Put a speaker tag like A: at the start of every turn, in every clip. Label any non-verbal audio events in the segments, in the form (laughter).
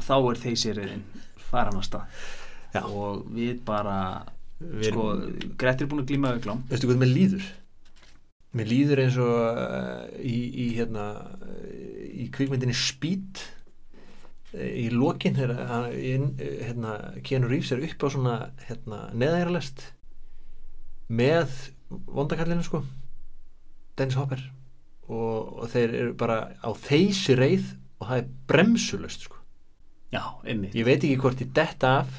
A: þá er þeysirinn faran á stað
B: Já.
A: og við bara
B: Við
A: sko,
B: erum-
A: Grettir er búin að glíma við glám
B: veistu hvað mér líður mér líður eins og uh, í, í hérna eh, í kvikmyndinni Speed eh, í lokin þegar hann- inn- eh, hérna, Keanu Reeves er upp á svona hérna, neðæralest með vondakallinu sko Dennis Hopper og, og þeir eru bara á þeysi reið og það er bremsulöst sko
A: Já, einmitt
B: ég veit ekki hvort ég detta af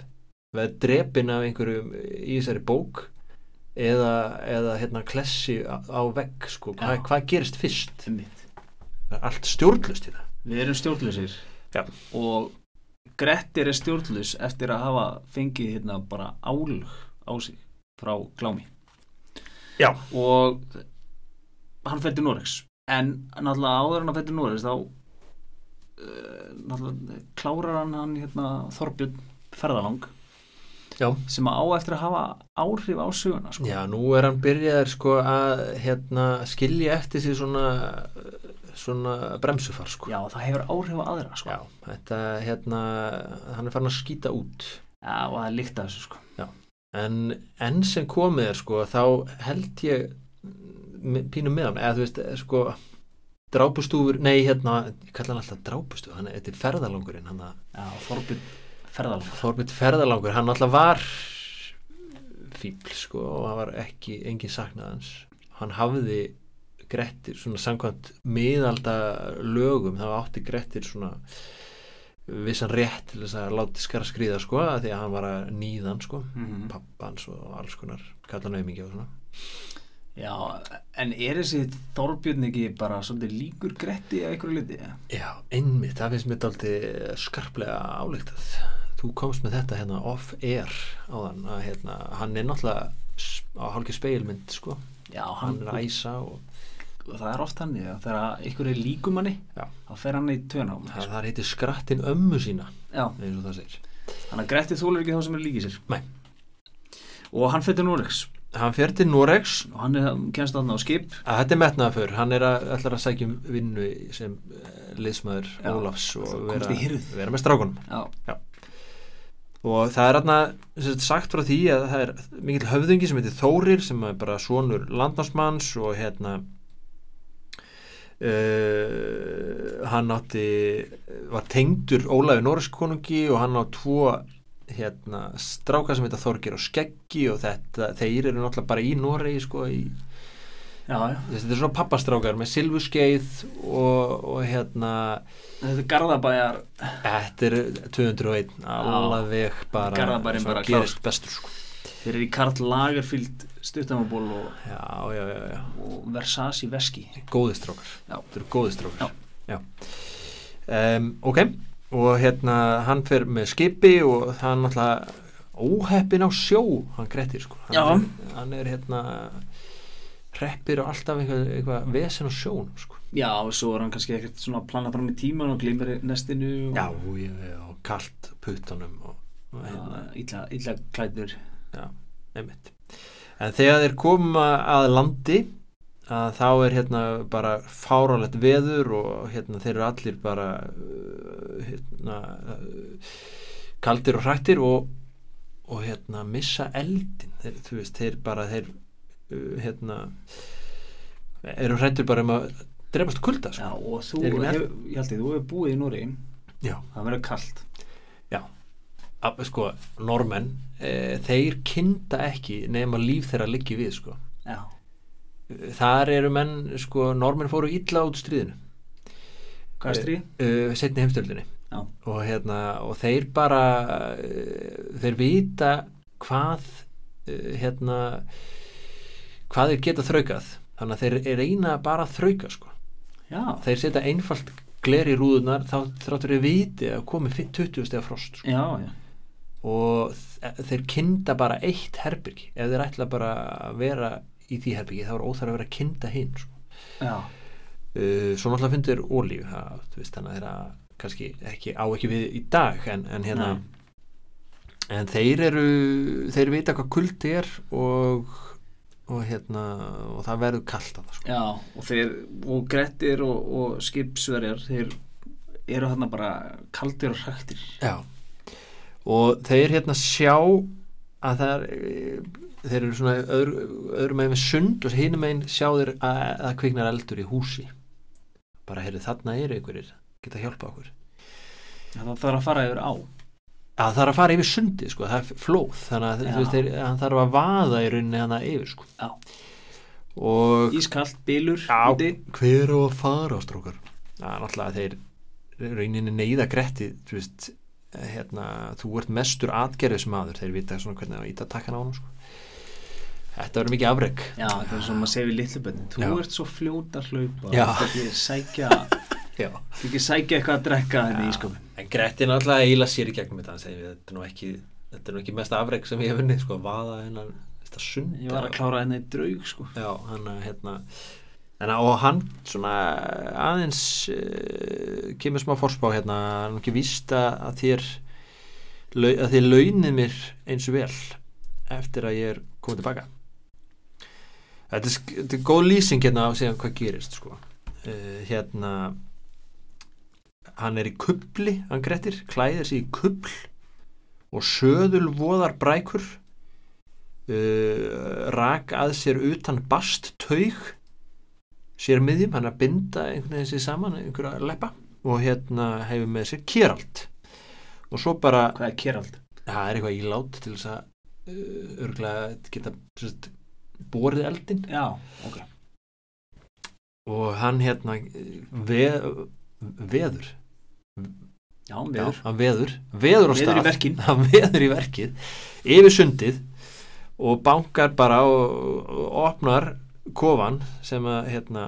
B: veða drepin af einhverjum í þessari bók eða, eða hérna klessi á, á vegg sko, Hva,
A: Já.
B: hvað gerist fyrst
A: Einmitt.
B: það er allt stjórnlust í það
A: Við erum stjórnlausir
B: Já.
A: og Grettir er stjórnlaus eftir að hafa fengið hérna bara álug á sig frá glámi
B: Já.
A: og hann fætti Norex en náttúrulega áður en hann fætti Norex þá uh, náttúrulega klárar hann hann hérna Þorbjörn ferðalang
B: já.
A: sem á eftir að hafa áhrif á söguna sko.
B: nú er hann byrjaður sko að hérna skilja eftir sér svona svona bremsufar sko
A: Já, það hefur áhrif á aðra sko.
B: Já, þetta hérna hann er farin að skýta út
A: Já, og það er líkt að þessu sko.
B: en enn sem komið er sko þá held ég mm, pínum með hann eða þú veist eh, sko drápustúfur, nei hérna ég kalla hann alltaf drápustúfur, hann er þetta er ferðalangurinn hann að
A: Já, Þorbjörn ferðalang
B: Þorbjörn ferðalangur, hann alltaf var fíbl sko og hann var ekki, engin saknað hans hann hafði Grettir svona samkvæmt miðalda lögum, þá átti Grettir svona vissan rétt til þess að láti skara skrýða sko að því að hann var að nýðan sko
A: mm
B: pappans og alls konar kallan auðmingi og svona
A: Já, en er þessi Þorbjörn ekki bara svolítið líkur Gretti að einhverju liti?
B: Já, einmitt, það finnst mér daldi skarplega álíktað þú komst með þetta hérna off-air áðan að hérna, hann er náttúrulega s- á hálki speilmynd sko
A: Já, hann,
B: hann er að æsa og
A: og það er oft hann ja. þegar einhver er líkumanni
B: Já.
A: þá fer hann í töna á
B: það, það heitir skrattin ömmu sína
A: Já,
B: eins og það segir
A: þannig að Gretti þúlur ekki þá sem er líkið sér
B: Nei.
A: Og hann fyrir Norex
B: Hann fer til Noregs
A: og hann er, kennst þarna á skip
B: að þetta er metnaðaför, hann er að, ætlar að sækja um vinnu sem eh, liðsmaður
A: Já,
B: Ólafs og
A: þú komst
B: vera,
A: í hirð.
B: vera með strákunum
A: Já,
B: og það er aðna sagt frá því að það er mikill höfðungi sem heitir Þórir sem er bara sonur landnámsmanns og hérna uh, hann átti var tengdur Ólafi Norriskonungi og hann á tvo hérna stráka sem heita Þorgir og Skeggi og þetta, þeir eru náttúrulega bara í Noregi sko í,
A: já, já
B: þessi, þetta er svona pappastrákar með silfuskeið og, og hérna
A: Þetta er Garðabæjar
B: þetta er 201 alveg bara
A: Garðabærinn
B: svona
A: bara
B: gerist bestur sko
A: Þeir eru í Karl Lagerfield stuttamaból og,
B: Já, já, já, já.
A: og Versace veski
B: Góði strókar.
A: Já.
B: Þetta eru góði strókar. Já. Um, ok, og hérna hann fer með skipi og það er náttúrulega óheppin á sjó, hann grettir sko. Hann
A: Já.
B: Er, hann er hérna hreppir og alltaf eitthvað, eitthvað vesen á sjón sko.
A: Já, og svo er hann kannski ekkert svona að plana fram í tíman og glimir nestinu og
B: Já, já, já, og kalt puttunum og, og hérna,
A: Já, illa, illa klæður
B: já, einmitt. En þegar þeir koma að landi að þá er hérna bara fáralegt veður og hérna þeir eru allir bara uh, hérna uh, kaldir og hrættir og, og hérna missa eldin þeir, þú veist, þeir bara þeir uh, hérna eru hrættir bara um að drefast kulda
A: Já,
B: sko.
A: og þú,
B: Er ekki
A: hef,
B: með?
A: ég held að þú hefur búið í Núri
B: Já.
A: Það verður kallt
B: að, sko, normenn e, þeir kynda ekki nema líf þeirra liggi við sko.
A: Já,
B: þar eru menn, sko, normenn fóru illa út úr stríðinu
A: hvað er stríð?
B: uh, setni heimstöldinni
A: Já.
B: og, hérna, og þeir bara uh, þeir vita hvað uh, hérna hvað þeir geta þraukað þannig að þeir reyna bara að þrauka sko.
A: Já,
B: þeir setja einfalt gler í rúðunar þá þráttur þeir viti að komi 20 steg frost sko.
A: já, já
B: og þe- þeir kynda bara eitt herbyrgi ef þeir ætla bara að vera í því herbyrgi þá er óþar að vera að kynda hinn sko.
A: Já,
B: uh, svo náttúrulega fundu þeir ólíu það, þú veist, þannig að þeirra kannski ekki, á ekki við í dag en, en hérna
A: Nei.
B: en þeir eru, þeir vita hvað kuldi er og og hérna, og það verður kallt að það sko.
A: já, og þeir, og Grettir og, og skipsverjar þeir eru þarna bara kaldir og hræktir
B: Já. Og þeir hérna sjá að það er, eh, þeir eru svona öðru, öðru megin við sund og hinum megin sjá þeir að að það kviknar eldur í húsi. Bara, heyrðu, þarna eru einhverjir, geta hjálpa okkur.
A: það þarf að fara yfir á
B: Að það er að fara yfir sundi, sko, það er flóð, þannig að
A: Já.
B: þú veist, þeir, hann þarf að vaða í rauninni hana yfir, sko.
A: Já.
B: Og
A: ískalt, bylur,
B: Já.
A: úti
B: hver á að fara strókar það er náttúrulega þeir rauninni neyða gretti þú veist hérna, þú ert mestur atgerðismadur þeir vita svona hvernig að íta takkan á hann sko. þetta verður mikið afreg
A: Já, það er svona að segja við litluböndin Þú
B: Já.
A: ert svo fljót að hlaupa
B: Já.
A: Þú ert ekki að sækja, þú
B: já
A: ert ekki að sækja eitthvað að drekka henni í sko. skopin
B: en gretti náttúrulega eila sér í gegnum þetta hann segir við, þetta er nú ekki þetta er nú ekki mest afreg sem ég hef unnið sko, vaða hennar þetta sund
A: Ég var að klára henni í draug sko.
B: Já, hann að, hérna en að, og hann svona aðeins uh, kemur smá fórspá hérna, hann er ekki víst að, að þér lau, að þér launið mér eins og vel eftir að ég er komið tilbaka þetta er, sk- þetta er góð lýsing hérna á síðan hvað gerist sko. uh, hérna hann er í kubli hann grettir, klæðir sig í kubl og söðul voðar brækur uh, rak að sér utan bast taug sér miðjum, hann er að binda einhvern veginn sér saman, einhverja leppa og hérna hefur með sér kérald og svo bara
A: Hvað er kérald?
B: það er eitthvað ílát til þess að uh, örgulega geta sérst, borið eldin
A: Já, ok
B: og hann hérna eh, veð, veður,
A: Já, um veður
B: Já, hann veður, veður á stað
A: Veður í verkin
B: hann veður í verkið yfir sundið og bankar bara og, og opnar kofan sem að hérna,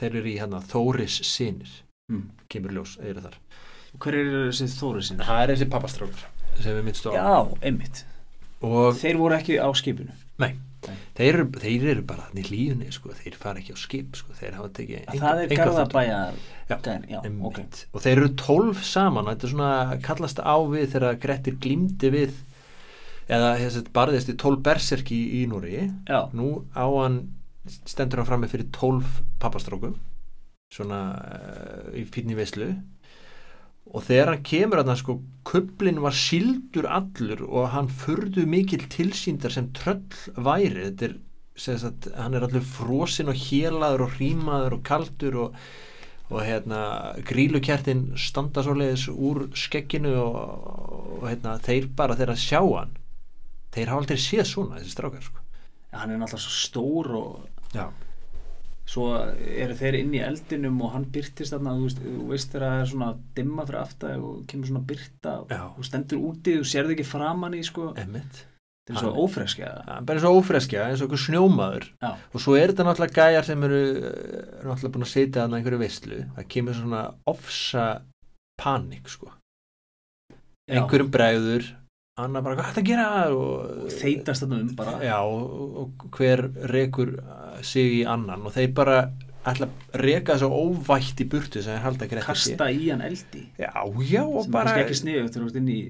B: þeir eru í hérna, Þóris sinir
A: Mm.
B: kemur ljós, eru þar
A: Hver eru þessi Þóri sinni?
B: það er þessi pappastrákur sem við minnst á
A: Já, einmitt
B: og
A: Þeir voru ekki á skipinu
B: þeir eru, þeir eru bara þannig hlíðunni sko, þeir fara ekki á skip sko, þeir hafa tekið enga-
A: Það er
B: enga þátt.
A: garðabæjar
B: Já,
A: gæðin, Já, ok
B: Einmitt. og þeir eru tólf saman þetta er svona kallast á við þegar Grettir glímdi við eða þessi barðist í tólf berserki í, í Núri
A: Já,
B: nú á hann stendur hann frammi fyrir tólf pappastrókum svona uh, í fínni veislu og þegar hann kemur að sko köflin var sildur allur og hann furðu mikil tilsýndar sem tröll væri þetta er sem sagt, hann er allur frosinn og hélaður og rímaður og kaldur og, og hérna grílukertin standa svoleiðis úr skekkinu og, og hérna, þeir bara þeir að sjá hann þeir hafa aldrei séð svona þessi strákar sko.
A: hann er náttúrulega svo stór og
B: Já,
A: svo eru þeir inn í eldinum og hann byrtist þarna, þú veist, þú veist þegar það er svona dimma fyrir aftan og kemur svona byrta
B: Já.
A: og stendur úti, þú sérðu ekki framan í sko,
B: emmitt
A: þetta er svo
B: Hann-
A: ófreskja
B: Það er bara svo ófreskja, eins og einhver snjómaður
A: Já.
B: og svo er þetta náttúrulega gæjar sem eru eh, náttúrulega búin að sitja þarna í einhverju veistlu það kemur svona ofsa panik sko,
A: Já.
B: einhverjum bregður annar bara, hvað er þetta að gera
A: og þeitast þarna um bara
B: Já, og, og hver rekur eh, sig í annan og þeir bara ætla að reka þessu óvætt í burtu sem þeir halda ekki ekki
A: kasta í hann eldi
B: Já, já, og
A: sem er
B: bara
A: kannski ekki sniðu þegar þú ert inn í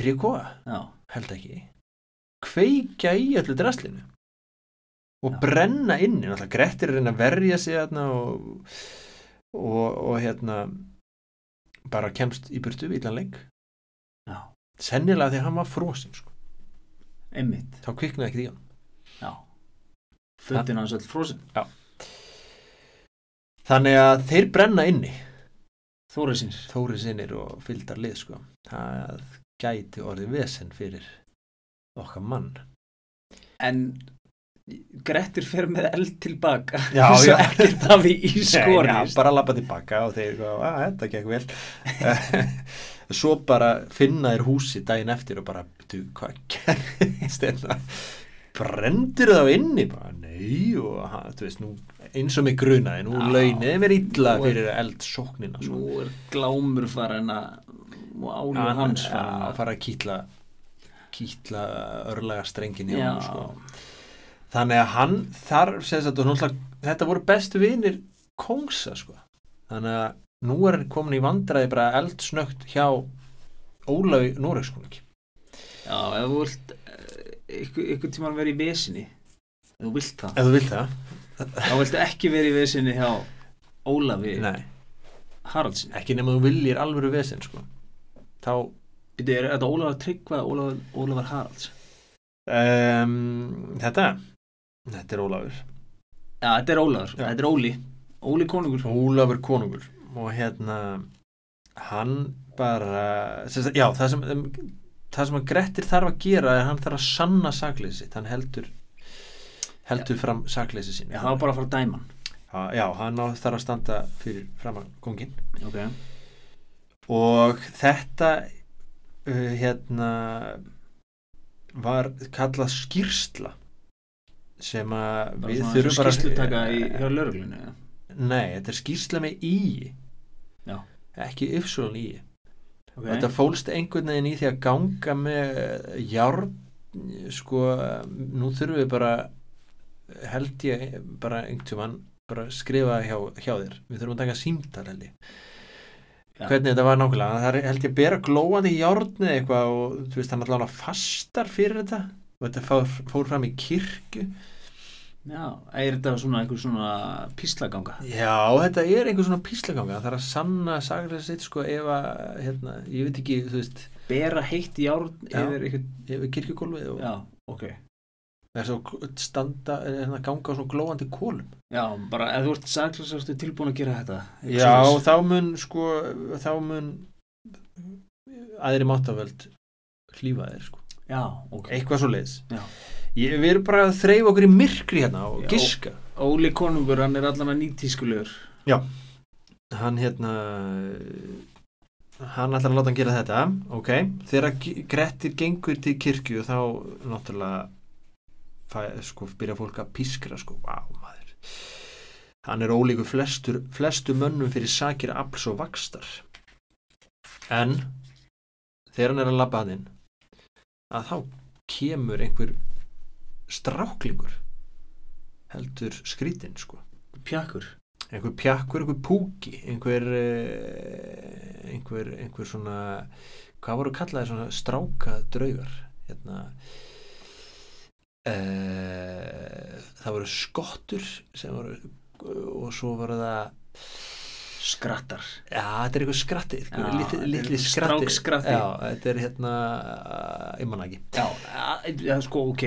B: Tríkóa
A: já,
B: held ekki kveikja í öllu draslinu og
A: Já.
B: brenna inni náttúrulega Grettir er að reyna að verja sig þarna og, og, og hérna bara kemst í burtu við illan leik
A: já,
B: sennilega þegar hann var frosin sko.
A: einmitt
B: þá kviknaði ekki í hann
A: já, fötin hans öll frosin
B: þannig að þeir brenna inni
A: Þórisins,
B: Þóri sinir og fylgdar lið sko. það gæti orðið vesen fyrir okkar mann
A: en Grettir fer með eld tilbaka
B: Já,
A: (laughs) svo
B: já.
A: ekkert af í
B: Nei,
A: skorist
B: já, bara lappa tilbaka og þeir að þetta gekk vel (laughs) svo bara finna þeir húsi daginn eftir og bara, "Bíddu, hvað gerðist þetta brendir það á inni bara, nei og ha, þú veist, nú, eins og mig grunaði nú
A: Já.
B: launið mér illa
A: Nú er-
B: fyrir eldsóknina
A: nú
B: sko.
A: er glámur farin að og álur
B: Hann-
A: hans
B: já,
A: farin að
B: fara að kýtla kýtla örlaga strengin hjá
A: Já.
B: hann sko. þannig að hann þarf sem sagt, og náttúrulega, þetta voru bestu vinir kóngsa sko. þannig að nú er hann komin í vandræði bara eldsnögt hjá Ólafi Noregskonung
A: já, ef þú vilt ykkur, ykkur tímann verið í vesinni ef þú vilt það
B: ef þú vilt það
A: þá viltu ekki verið í vesinni hjá Ólafi
B: Nei.
A: Haraldsin
B: ekki nema þú viljir alvöru vesinn sko. þá
A: Býtu, er þetta Ólafur Tryggva eða Ólafur, Ólafur Haralds?
B: um, þetta þetta er Ólafur
A: Já, þetta er Ólafur,
B: Já.
A: þetta er Óli Óli konungur
B: Ólafur konungur og hérna hann bara sem, sagt, já, það sem um, það sem að Grettir þarf að gera er hann þarf að sanna sakleysi sitt, hann heldur heldur fram sakleysi sín
A: Já, það var bara að fara að dæma hann
B: já, hann á, þarf að standa fyrir fram að kongin
A: okay.
B: og þetta uh, hérna var kallað skýrsla sem að
A: bara
B: við
A: svona
B: þurfum bara
A: skýrslutaka í hjá lauruglunni ja.
B: nei, þetta er skýrsla með í
A: Já.
B: ekki yfsvölan í
A: okay.
B: Þetta fólst einhvern veginn í því að ganga með járn, sko, nú þurfum við bara, held ég, bara einhvern mann, bara skrifa hjá, hjá þér. Við þurfum að taka símtal, held ég.
A: Já.
B: Hvernig þetta var nákvæmlega, það er, held ég, bera glóandi járn eða eitthvað og þú veist, hann allavega fastar fyrir þetta og þetta fór, fór fram í kirkju.
A: Já, er þetta svona einhver svona píslaganga?
B: Já, þetta er einhver svona píslaganga, það er að sanna saglega sitt, sko, ef að, hérna, ég veit ekki, þú veist,
A: Bera heitt járn
B: Já.
A: yfir eitthvað
B: yfir kirkjugólfið og...
A: Já, ok
B: þess að standa hérna, ganga á svona glóandi kólum
A: Já, bara ef þú ert saklaus ertu tilbúin að gera þetta Eitthvað
B: já,
A: svoleiðis.
B: þá mun sko þá mun aðri máttaföld hlýfa þér sko,
A: Já, ok
B: eitthvað svo leiðis
A: Já.
B: ég, við erum bara að þreyfa okkur í myrkri hérna og
A: Já.
B: giska
A: Óli konungur, hann er allan að nýtískulegur
B: hann hérna hann ætlar að láta hann gera þetta ok, þegar G- Grettir gengur til kirkju þá náttúrulega fæ, sko, byrja fólk að pískra sko, vá maður hann er ólíku flestur, flestu mönnum fyrir sakir afls og vakstar en þegar hann er að labba hann inn að þá kemur einhver stráklingur heldur skrítinn sko
A: Pjakkur
B: einhver pjakkur, einhver púki einhver eh, einhver, einhver svona hvað voru kallaði svona stráka draugar hérna uh, það voru skottur sem voru og svo voru það
A: Skrattar
B: Já, þetta er eitthvað skratti,
A: Já,
B: eitthvað litli,
A: þetta er
B: litli
A: einhver
B: skratti
A: strákskratti.
B: Já, þetta er hérna eh, ég man það ekki
A: Já, að- já, sko, ok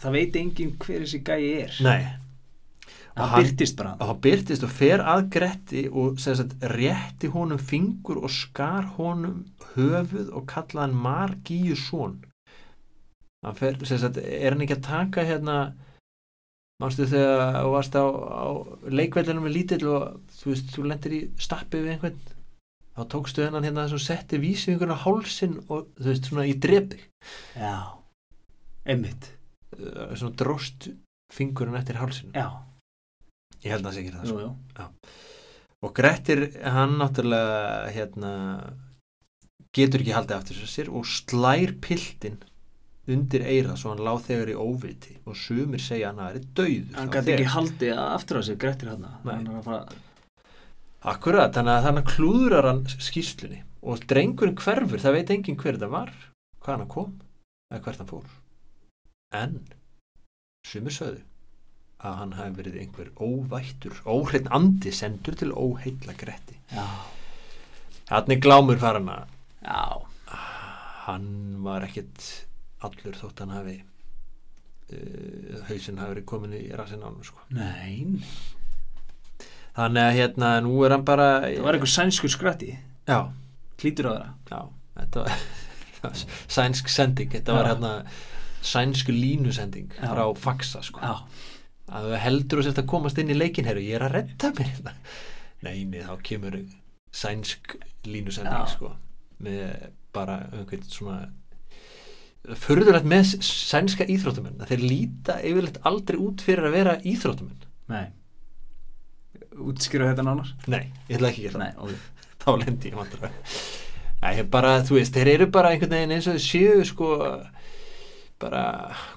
A: Það veit enginn hver þessi gæi er
B: Nei,
A: Hann,
B: og hann-
A: byrtist bara
B: og hann byrtist og fer að Gretti og sem sagt, rétti honum fingur og skar honum höfuð og kallaði hann Margíu són hann fer, sem sagt, er hann ekki að taka hérna manstu þegar þú varst á, á leikveldinu með lítill og þú veist, þú lendir í stappi við einhvern þá tókstu hennan hérna þess að setti vísfingurinn á hálsin og þú veist, svona í drepi
A: Já, einmitt
B: Eh, svona dróst fingurinn eftir hálsin
A: Já,
B: ég held að það sé ekki það sko.
A: jú, jú
B: og Grettir hann náttúrulega hérna, getur ekki haldið aftur sér og slær piltin undir eira svo hann láð þegar í óviti og sumir segja hann að hann er döður
A: Hann gæti ekki haldið aftur á sig Grettir hann
B: sko Nei.
A: Hann er að fara
B: Akkurat, þannig að þannig klúðrar hann skýrslunni og drengurinn hverfur, það veit enginn hver þetta var hvaðan hann kom eða hvert hann fór en sumir sögðu að hann hafi verið einhver óvættur óhreinn andi sendur til óheilla Gretti
A: Já,
B: hann er glámur farin að
A: já
B: hann var ekkit allur þótt hann hafi uh, hausinn hafi verið komin í rassin á hann sko.
A: Nein,
B: þannig að hérna nú er hann bara
A: það var einhver sænskur skratti
B: já,
A: Klítur á þeirra
B: já, þetta var (laughs) það var sænsk sending þetta var
A: Já.
B: hérna sænsku línusending
A: Já.
B: frá faxa sko.
A: Já,
B: að þú heldur þú sérst að komast inn í leikin herru, ég er að redda mér hérna neini, þá kemur sænsk línusending
A: Já.
B: sko, með bara einhvern svona förðurlegt með sænska íþróttumenn að þeir líta yfirleitt aldrei út fyrir að vera íþróttumenn
A: nei Útskýra þetta nánar
B: nei, ég ætla ekki að gera
A: Nei, ok
B: það þá lendi ég vandra nei, bara, þú veist, þeir eru bara einhvern veginn eins og þeir séu sko bara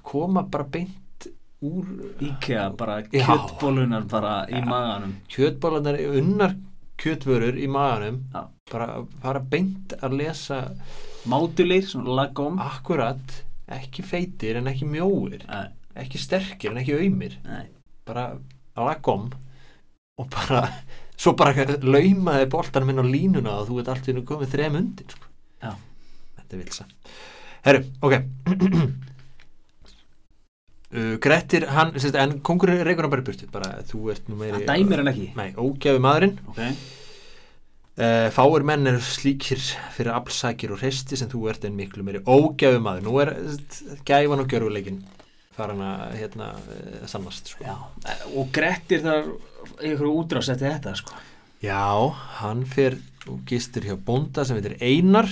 B: koma bara beint úr
A: Íkea, bara
B: Já.
A: kjöttbólunar bara í maganum
B: kjötbólarnar unnar kjötvörur í maganum
A: Já.
B: bara fara beint að lesa
A: Mátulir, svona lagom
B: Ah, akkurat ekki feitir en ekki mjóir
A: Nei,
B: ekki sterkir en ekki auðmir
A: nei
B: bara lagom og bara svo bara eitthvað laumaði boltan minn á línuna og þú veit allt í hennu komið þrem undir sko.
A: Já.
B: þetta er vilsa herru, ok (clears throat) uh, Grettir, hann sérst, en kongurinn reykur hann bara í burtu bara þú ert nú meiri
A: Það dæmir hann ekki
B: nei, ógjafi maðurinn
A: Ok,
B: Uh, fáir menn eru slíkir fyrir aflsækir og hreisti sem þú ert en miklu meiri ógæfu maður. Nú er eh, gæfan og gjörfuleikin farin að hérna, eh, sannast. Sko.
A: já Og Grettir þar einhverju útrás eftir þetta sko
B: Já, hann fer og gistur hjá bónda sem heitir Einar.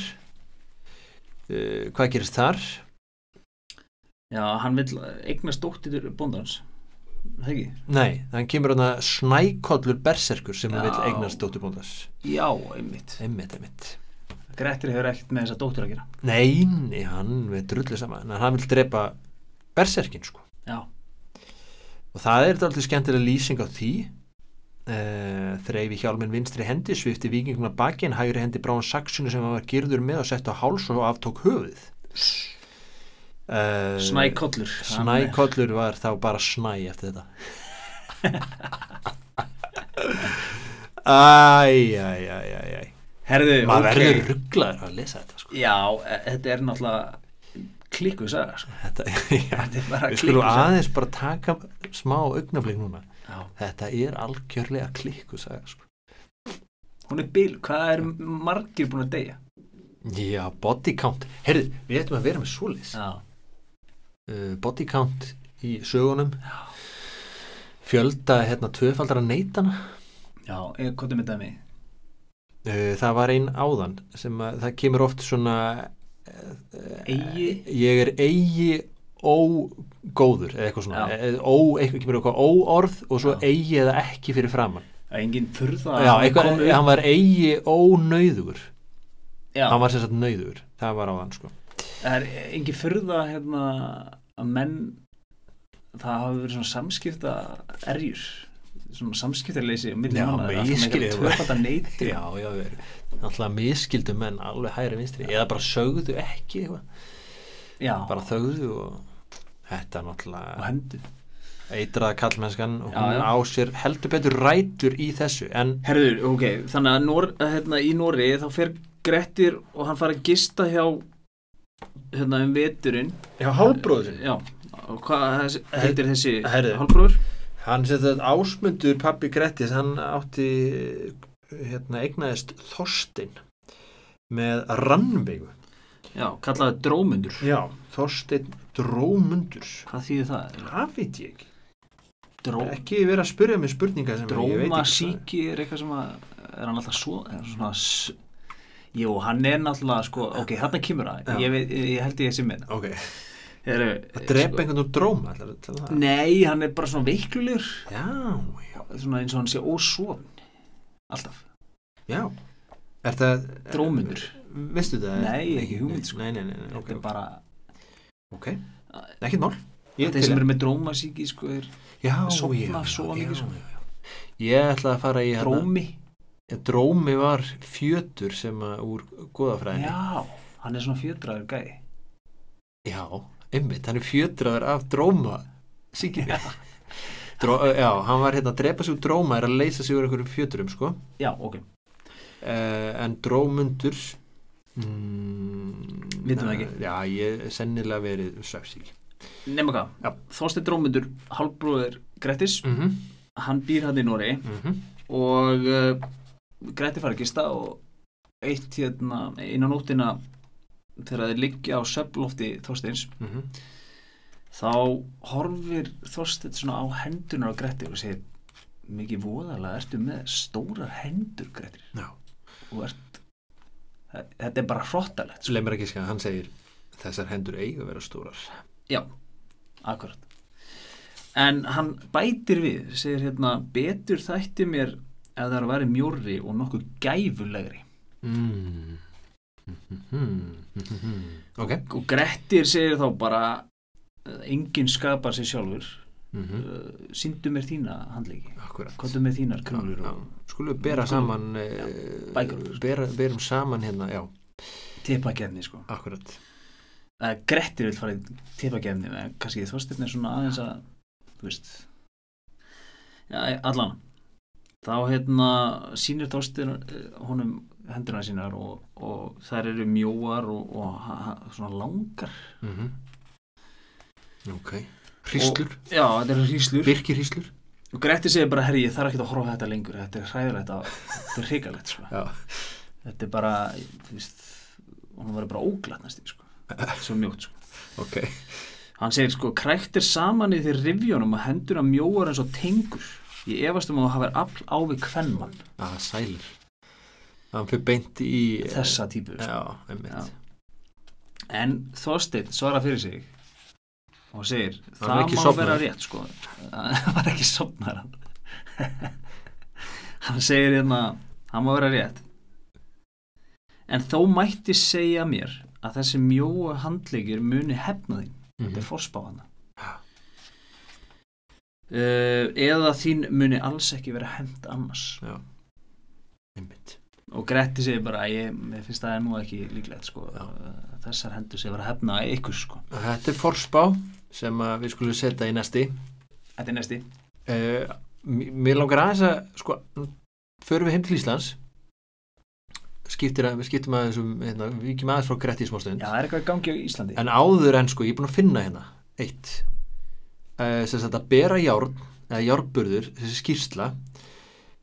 B: Uh, hvað gerist þar?
A: Já, hann vil eignast dóttir bóndans Er Það ekki?
B: Nei, hann kemur hann að snækollur berserkur sem hann
A: Já.
B: vil eignast dóttur bóndas.
A: Já, einmitt
B: Einmitt, einmitt.
A: Grettir hefur ekkert með þessa dóttir að gera
B: Nei, nei, hann við drullu saman. En hann vil drepa berserkin, sko.
A: Já,
B: og það er alltaf skemmtilega lýsing á því uh, þreifi hjálminn vinstri hendi svifti vikingum að baki en hægri hendi brá hann saksinu sem hann var gyrður með og sett á háls og aftók höfuð uh,
A: Eh, Snækollur
B: Snækollur var þá bara snæ eftir þetta Æj, æj, æj, æj, æj
A: Herðu,
B: Maður
A: ok.
B: verður rugglaður að lesa þetta sko.
A: Já, e- þetta er náttúrulega klikku saga sko.
B: Þetta,
A: Þetta
B: já,
A: er bara
B: Við
A: klikku
B: skulum aðeins bara taka smá augnaflik núna
A: Já.
B: Þetta er algjörlega klikku saga sko.
A: Hún er bíl, hvað er margir búin að deyja?
B: Já, body count Herðu, við ættum að vera með svoleiðis uh,
A: Já,
B: Body count í sögunum Fjölda hérna tvöfaldara neitana
A: já, ég, hvað er með dæmi?
B: uh, Það var ein áðan sem að það kemur oft svona
A: Eh. Eigi
B: Ég er eigi ógóður eða eitthvað svona
A: Já.
B: Eh, ó, eitthvað kemur eitthvað óorð og svo
A: Já.
B: eigi eða ekki fyrir framann
A: Engin furða að
B: Já,
A: hann
B: eitthvað,
A: komi upp.
B: hann var eigi ónauðugur
A: já,
B: Hann var sem sagt nauðugur, það var áðan sko
A: það er engin furða hérna, að menn það hafi verið svona samskipta erjur svona samskiptarleysi á milli
B: Já,
A: manna, það er alltaf með
B: miskilið
A: eitthvað
B: voru.
A: tvöfalda neiti
B: Já, já, við erum alltaf miskildu menn alveg hægri vinstri eða bara sögðu ekki eitthvað.
A: já,
B: bara þögðu og þetta er
A: og
B: náttúrulega
A: hendu
B: eitraða kallmennskan og
A: Já,
B: hún
A: já.
B: á sér heldur betur rætur í þessu en
A: Herður, ok, þannig að Nor, að hérna, í Nóri þá fer Grettir og hann fara að gista hjá hérna um veturinn
B: Já,
A: Já, og hvað þessi- heitir þessi
B: Herðu.
A: hálfbróður?
B: Hann sér þetta ásmundur pappi Grettis hann átti hérna eignaðist Þorstin með rannveigu
A: Já, kallaði drómundur
B: Já, Þorstin Drómundur
A: Hvað þýðir það?
B: Það veit ég ekki
A: Dró,
B: ekki vera að spyrja mig spurninga sem ég veit
A: dróma
B: ekki svarið.
A: síki er eitthvað sem að er hann alltaf svo er svona, s- Jú, hann er náttúrulega sko, ok, þarna kemur
B: Já.
A: það ég, veit- ég held ég sé með
B: Ok, að
A: Að
B: drepa einhvern úr dróma ætlarðu að tala um það?
A: sko- Nei, hann er bara svona veiklulegur
B: Já, já,
A: svona eins og hann sé ósofn Alltaf,
B: já Er það
A: drómundur
B: Veistu það?
A: Nei, ekki hugmynd, sko.
B: Nei, nei, nei, nei ok,
A: Þetta er bara
B: ok Ekkert mál Ég
A: Þeir
B: til
A: sem
B: í-
A: eru með drómasíki sko er
B: Já,
A: sofna
B: já, já,
A: svo mikið,
B: já,
A: sko.
B: já, já. Ég ætla að fara í hérna
A: drómi
B: Drómi var fjötur sem að úr góðafræðinni
A: Já, hann er svona fjötraður gæ
B: Já, einmitt, hann er fjötraður af dróma Sýkina (laughs) Dró, Já, hann var hérna að drepa sig úr dróma er að leysa sig úr einhverjum fjöturum sko
A: Já, ok,
B: uh, En drómundur mm,
A: Vitum það ekki.
B: Já, ég sennilega verið svefsík
A: nema hvað
B: Já.
A: Þorsteinn Drómundur, halvbróður Grettis
B: mm -hmm,
A: Hann býr hann í Nóri
B: mm -hmm.
A: og uh, Gretti fara að gista og eitt hérna inn á nóttina þegar þeir liggja á söflofti Þorsteins þá horfir Þorsteinn svona á hendunar á Gretti og segir mikið voðalega ertu með stórar hendur Gretti
B: Já,
A: og ert þetta er bara hrottalegt
B: svo leið mér að gíska hann segir þessar hendur eiga að vera stórar
A: Já, akkurat En hann bætir við segir hérna, betur þætti mér ef það er að vera mjórri og nokkuð gæfulegri Mhm.
B: mm. Mhm, Ok
A: og Grettir segir þá bara eh, enginn skapar sér sjálfur
B: mm -hmm.
A: uh, síndu mér þína handleiki
B: Akkurat
A: komdu með þínar krumlur og
B: Skulum við bera saman já,
A: bækur.
B: bera, Berum saman hérna, já,
A: tepakefni sko
B: akkurat
A: uh, Grettir vil fara í tepakefni en kannski Þorsteinn er svona aðeins að þú veist Já, allan þá hérna sínir Þorstin eh, honum hendina sínar og, og þær eru mjóar og, og ha, ha, svona langar
B: mm ok hríslur,
A: já, þetta eru hríslur
B: virkir hríslur
A: og Gretti segir bara, herri, ég þarf ekki að horfa á þetta lengur þetta er hræðilegt, að- þetta er hrikalegt sko.
B: já,
A: þetta er bara, þú veist hún var bara óglatt næstum því, sko. svo mjótt sko.
B: ok
A: hann segir sko, kræktir saman í því rivjónum og hendina mjóar eins og tengur ég efast um að þú hafir afl á við kvennmann
B: að Ah, sælir hann fyrir beint í
A: þessa típu sko.
B: já, einmitt
A: Já. En Þorsteinn svarar fyrir sig og segir
B: Hann er
A: það
B: ekki
A: má
B: sofnaður."
A: vera rétt sko (laughs) hann var ekki sopnar (laughs) hann segir hérna hann má vera rétt en þó mætti segja mér að þessi mjóu handleikir muni hefna þín
B: Mhm.
A: þetta er forspáðana
B: Já.
A: uh, eða þín muni alls ekki vera hend annars
B: já, einmitt
A: og Gretti segir bara að ég mér finnst það er nú ekki líklegt sko
B: Já.
A: Eh, þessar hendur segir vera hefna ykkur sko
B: þetta er forspá sem að við skulum setja í næsti
A: þetta er næsti
B: uh, mér langar aðeins að sko, förum við heim til Íslands skiptir að, við skiptum aðeins um hérna, við ekki aðeins frá Gretti í smástund
A: Já, það er eitthvað í gangi á Íslandi
B: en áður en sko, ég er búinn að finna hérna eitt uh, sem sagt að bera járn eða járnburður, þessi skýrsla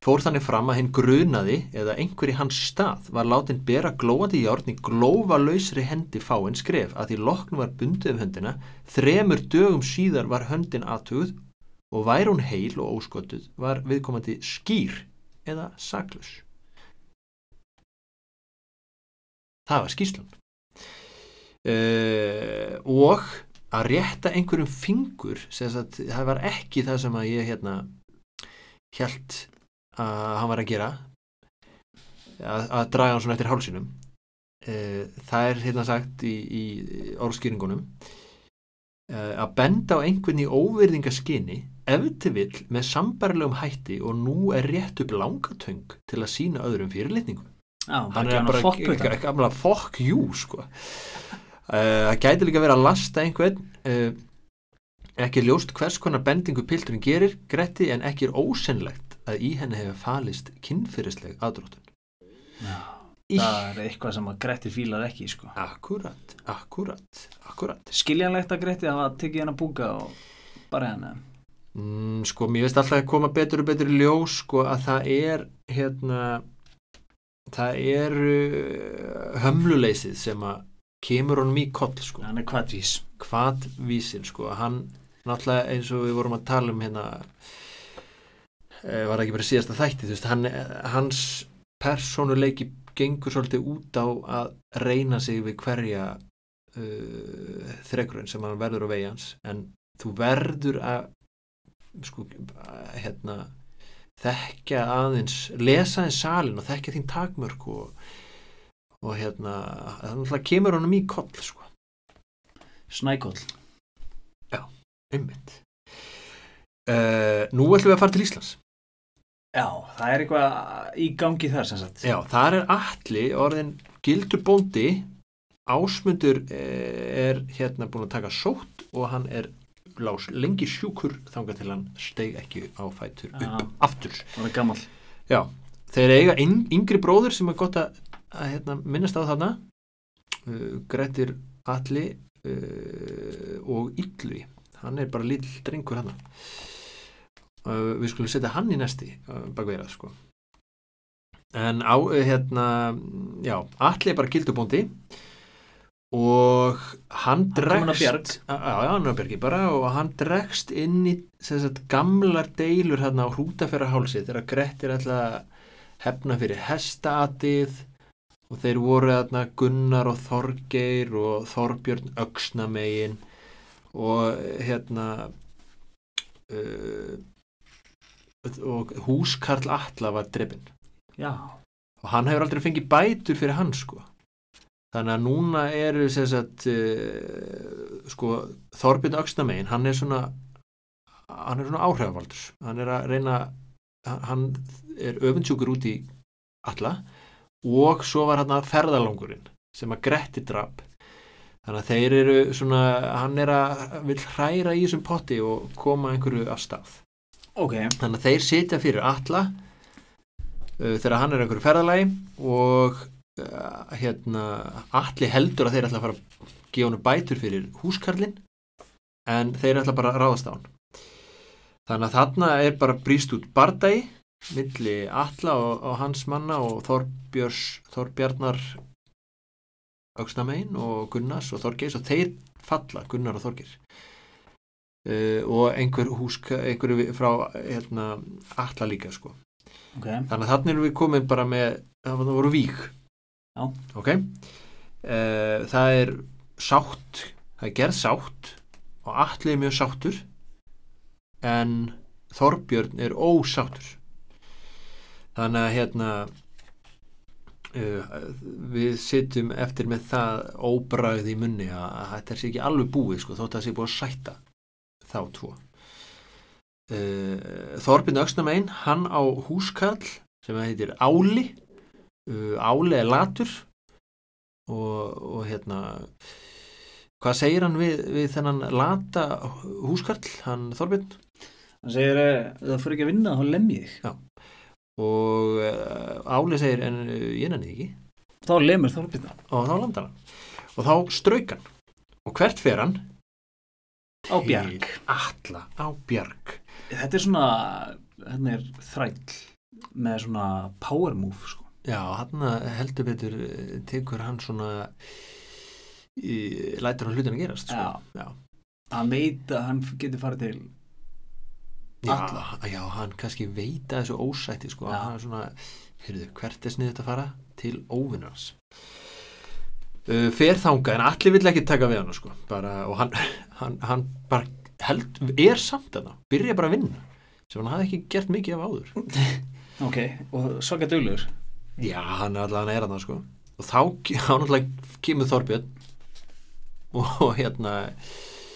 B: fór þannig fram að hinn grunaði eða einhver í hans stað var látin bera glóandi járn í glófalausri hendi fáinn skref að því lokn var bundið um höndina þremur dögum síðar var höndin aðtugð og væri hún heil og óskottuð var viðkomandi skýr eða saklus það var skýrslan uh, og að rétta einhverjum fingur sem sagt, það var ekki það sem að ég hérna held að hann var að gera að, að draga hann svona eftir hálsinum uh, það er hérna sagt í, í orðskýringunum uh, að benda á einhvern í óvirðingaskyni ef til vill með sambarlegum hætti og nú er rétt upp langatöng til að sína öðrum fyrirlitningu
A: Já,
B: hann
A: bara gefur
B: er bara
A: hann fokkpauta
B: g- gamla fuck you sko Eh, það gæti líka verið að lasta einhvern uh, ekki er ljóst hvers konar bendingu pilturinn gerir gretti en ekki er ósennlegt að í henni hefur falist kynfyrirsleg aðdróttun Í-
A: Það er eitthvað sem að Gretti fílar ekki sko.
B: akkurat, akkurat, akkurat
A: Skiljanlegt að Gretti hafa tekið hann að búka og bara hann eða?
B: mm, sko mér veist alltaf að koma betur og betur í ljós sko að það er hérna það er uh, hömluleysið sem að kemur honum í koll sko
A: Hann er kvartvís
B: hvað vísin sko, hann náttúrulega eins og við vorum að tala um hérna eh, var það ekki bara síðasta þætti þú veist, hann, hans persónuleiki gengur svolítið út á að reyna sig við hverja uh, þrekurinn sem hann verður á vegi hans en þú verður að sko, að, hérna þekkja aðeins, lesa aðeins salin og þekkja þín takmörk og, og hérna, þannig að kemur honum í koll sko
A: Snækoll
B: Einmitt. Uh, nú ætlum við að fara til Íslands.
A: Já, það er eitthvað í gangi þar sem sagt
B: Já, þar er Atli orðin gildur bóndi, Ásmundur eh, er hérna búin að taka sótt og hann er lás lengi sjúkur þangað til hann steig ekki á fætur upp
A: Já.
B: aftur.
A: Það er gammal
B: Já, þeir eiga yng, yngri bróður sem er gott að, að hérna, minnast á þarna, uh, Grettir Atli uh, og Yllvi, hann er bara lítill drengur hann. Uh, við skulum setja hann í næsti uh, bakveirað sko. En á, uh, hérna, já, Atli er bara gildubóndi og hann
A: Hann komin að
B: dregst
A: bjarg
B: Já, já, Nöbergi bara og hann dregst inn í sem sagt, gamlar deilur hérna á hrútafæra hálsi þegar Grettir ætla að hefna fyrir hestaatið og þeir voru þarna Gunnar og Þorgeir og Þorbjörn Öxnamegin og hérna uh, og húskarl Atla var drefin
A: Já,
B: og hann hefur aldrei fengið bætur fyrir hann sko þannig að núna eru sem sagt uh, sko Þorbjörn Öxnamegin hann er svona hann er svona áhrifavaldur hann er að reyna hann er öfundsjúkur út í alla og svo var hann að ferðalangurinn sem að Gretti drap þannig að þeir eru svona hann er að vil hræra í þessum potti og koma einhverju af stað
A: ok
B: þannig að þeir sitja fyrir alla uh, þegar hann er á einhverju ferðalagi og uh, hérna allir heldur að þeir ætla að fara að gefa hann bætur fyrir húskarlinn en þeir ætla bara að ráðast á hann þannig að þarna er bara brýst út bardagi milli Alla og, og hans manna og Þorbjörs, Þorbjarnar Ögsnamein og Gunnars og Þorgeis og þeir falla, Gunnar og Þorgeir uh, og einhver húska, einhverju við- frá hérna, Alla líka sko
A: ok,
B: þannig að þarna erum við komin bara með það var- það voru vík
A: Já.
B: ok uh, það er sátt það er gerð sátt og allir er mjög sáttur en Þorbjörn er ósáttur þannig að hérna uh, við sitjum eftir með það óbragð í munni að, að þetta sé ekki alveg búið sko, þótt að það sé búið að sætta þá tvo uh, Þorbjörn Öxnamein hann á húskall sem heitir Áli uh, Áli er latur og, og hérna hvað segir hann við, við þennan lata húskall, hann Þorbjörn
A: hann segir eh, ef það fyrir ekki að vinna þá lem ég þig.
B: og uh, Áli segir en uh, ég nenni því ekki
A: þá lemur Þorbjörn hann
B: og þá landar hann og þá strauk hann og hvert fer hann?
A: á bjarg
B: Alla á bjarg
A: þetta er svona, þetta er þræll með svona power move sko.
B: Já, hann heldur betur eh, tekur hann svona í, lætur hann hlutin að gerast sko.
A: Já.
B: Já.
A: hann veit að hann getur farið til
B: Já, já, hann kannski veit að þessu ósætti sko,
A: Já.
B: hann er svona, heyrðu, hvert er sniðið að fara til óvinnars uh, fer þanga en allir vill ekki taka við hann sko, bara, og hann, (laughs) hann, hann bara held, er samt þarna, byrja bara að vinna sem hann hafði ekki gert mikið af áður
A: ok, og svaka döglegur
B: Já, hann er allavega er hann sko og þá ke- (laughs) hann allavega kemur Þorbjörn og hérna,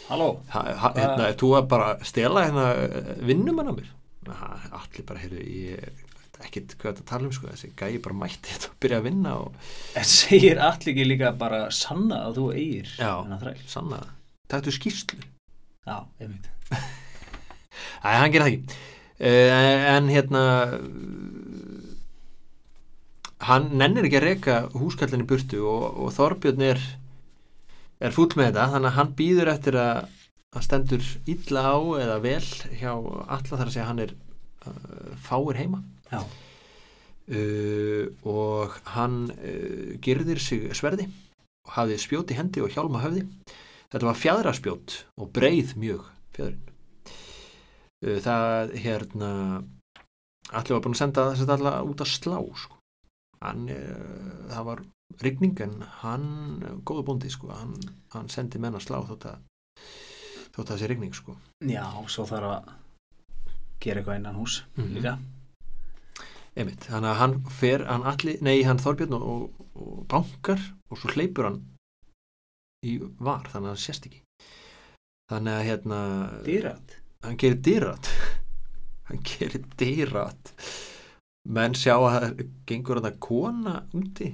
A: halló,
B: ha, ha- hérna uh. þú að bara stela hérna eh, vinnum hann á mér ha, allir bara, heyrðu, ég veit ekkert hvað þetta tala um sko, þessi gæi bara mætti þetta og byrja að vinna og
A: en segir allir ekki líka bara sanna að þú eigir
B: Já.
A: þennan þræll
B: sanna það taktu skýrslu,
A: já, einmitt
B: æ, hann gerir það ekki uh, en hérna eh, hann nennir ekki að reka húskallinni burtu og, og Þorbjörn er er fúll með þetta, þannig að hann býður eftir að, að stendur illa á eða vel hjá alla þar að segja hann er uh, fáir heima
A: já,
B: uh, og hann uh, gerðir sig sverði og hafði spjót í hendi og hjálma höfði þetta var fjadraspjót og breið mjög fjadrin uh, það hérna allir var búin að senda þess að alla út að slá sko. hann uh, það var rigning en hann góðu bóndi sko, hann, hann sendi menn að slá þótt að þótt að þessi rigning sko
A: já, svo þarf að gera eitthvað innan hús
B: Mhm.
A: líka
B: Einmitt, þannig að hann fer, hann allir, nei hann Þorbjörn og, og, og bankar og svo hleypur hann í var, þannig að hann sést ekki þannig að hérna
A: dýrat,
B: hann gerir dýrat (laughs) hann gerir dýrat menn sjá að það gengur hann að kona úti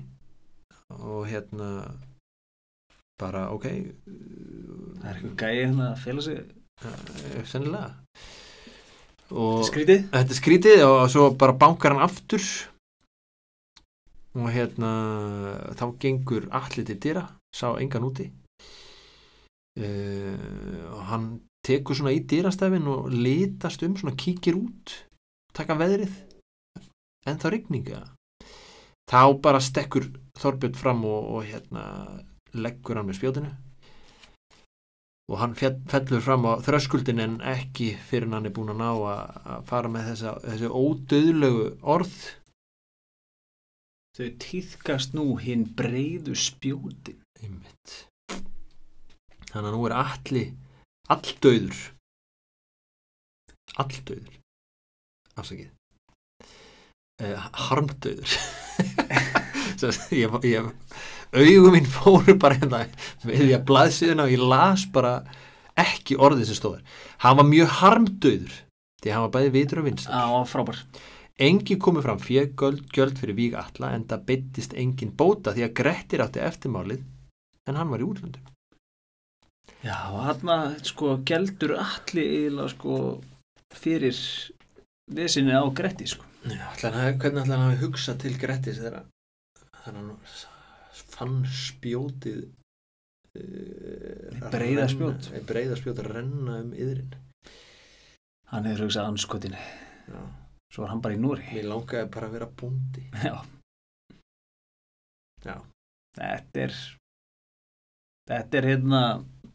B: og hérna bara ok
A: það er eitthvað gæi hérna að fela sig
B: eh, sennilega og
A: skrítið
B: þetta er skrítið og svo bara bankar hann aftur og hérna þá gengur allir til dyra sá engan úti uh, og hann tekur svona í dyrastefin og litast um svona kíkir út taka veðrið en þá rigninga þá bara stekkur Þorbjörn fram og, og hérna leggur hann með spjótinu og hann fjall, fellur fram á þröskuldin en ekki fyrir en hann er búin að ná að, að fara með þessa, þessi ódöðlegu orð
A: þau týðkast nú hinn breiðu spjóti
B: einmitt þannig að nú er alli alldauður alldauður afsakið uh, harmdauður (laughs) Svo ég, ég, augum mín fóru bara hérna við því að blaðsíðuna og ég las bara ekki orðið sem stóður hann var mjög harmdauður því hann var bæði vitur og vinst
A: á, frábær
B: Engi komið fram fjögöld gjöld fyrir Víg Alla en það byttist engin bóta því að Grettir átti eftirmálið en hann var í útlöndum.
A: já, og hann sko, geldur allir eiginlega sko fyrir vesinni á Gretti sko.
B: Já, ætli hann hafi- hvernig ætla hann hafi hugsað til Grettis þegar þegar hann fann spjótið uh,
A: Breiða spjót.
B: breyða spjót að renna um yðrin
A: hann hefur hugsað anskotin
B: Já.
A: svo var hann bara í Núri
B: mér langaði bara að vera bóndi
A: Já.
B: Já.
A: þetta er þetta er hérna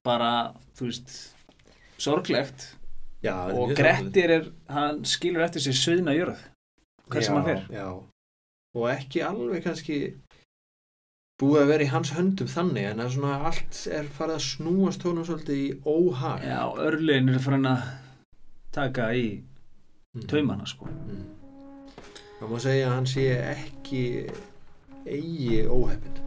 A: bara þú veist sorglegt
B: Já, þetta
A: og
B: er mjög sorglegt.
A: Grettir er, hann skilur eftir sér sviðna jörð hvert sem
B: Já,
A: hann fer
B: já. og ekki alveg kannski búið að vera í hans höndum þannig en að svona allt er farið að snúast honum svolítið í óhag
A: já, örlegin er farin að taka í
B: Mhm.
A: taumana sko
B: Mm. Það má segja að hann sé ekki eigi óheppin.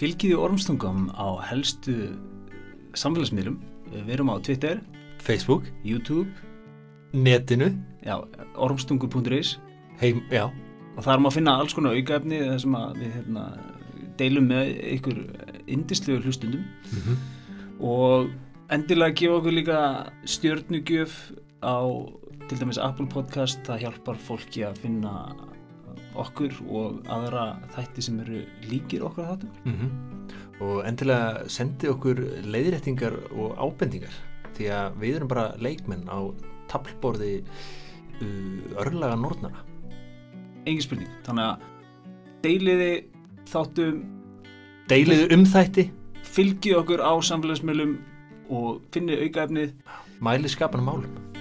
A: Fylgiði ormstungum á helstu samfélagsmiðlum. Við erum á Twitter,
B: Facebook,
A: YouTube,
B: netinu,
A: já, ormstungur.is
B: heim, já,
A: og þar má finna alls konar aukaefni þar sem að við hérna, deilum með ykkur indislegu hlustundum
B: Mhm.
A: og endilega gefa okkur líka stjörnugjöf á til dæmis Apple Podcast, það hjálpar fólki að finna okkur og aðra þætti sem eru líkir okkar þáttum.
B: Mhm. og endilega sendi okkur leiðréttingar og ábendingar því að við erum bara leikmenn á tablborði uh, örlaga nornara.
A: Engin spurning, þannig að deiliði þáttum
B: Deiliðu um þætti,
A: fylgið okkur á samfélagsmiðlum og finnið aukaefnið
B: mæli skapanum málum.